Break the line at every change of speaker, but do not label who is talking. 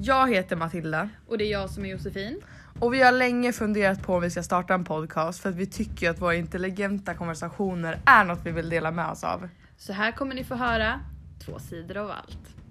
Jag heter Matilda
Och det är jag som är Josefin.
och vi har länge funderat på om vi ska starta en podcast för att vi tycker att våra intelligenta konversationer är något vi vill dela med oss av.
Så här kommer ni få höra två sidor av allt.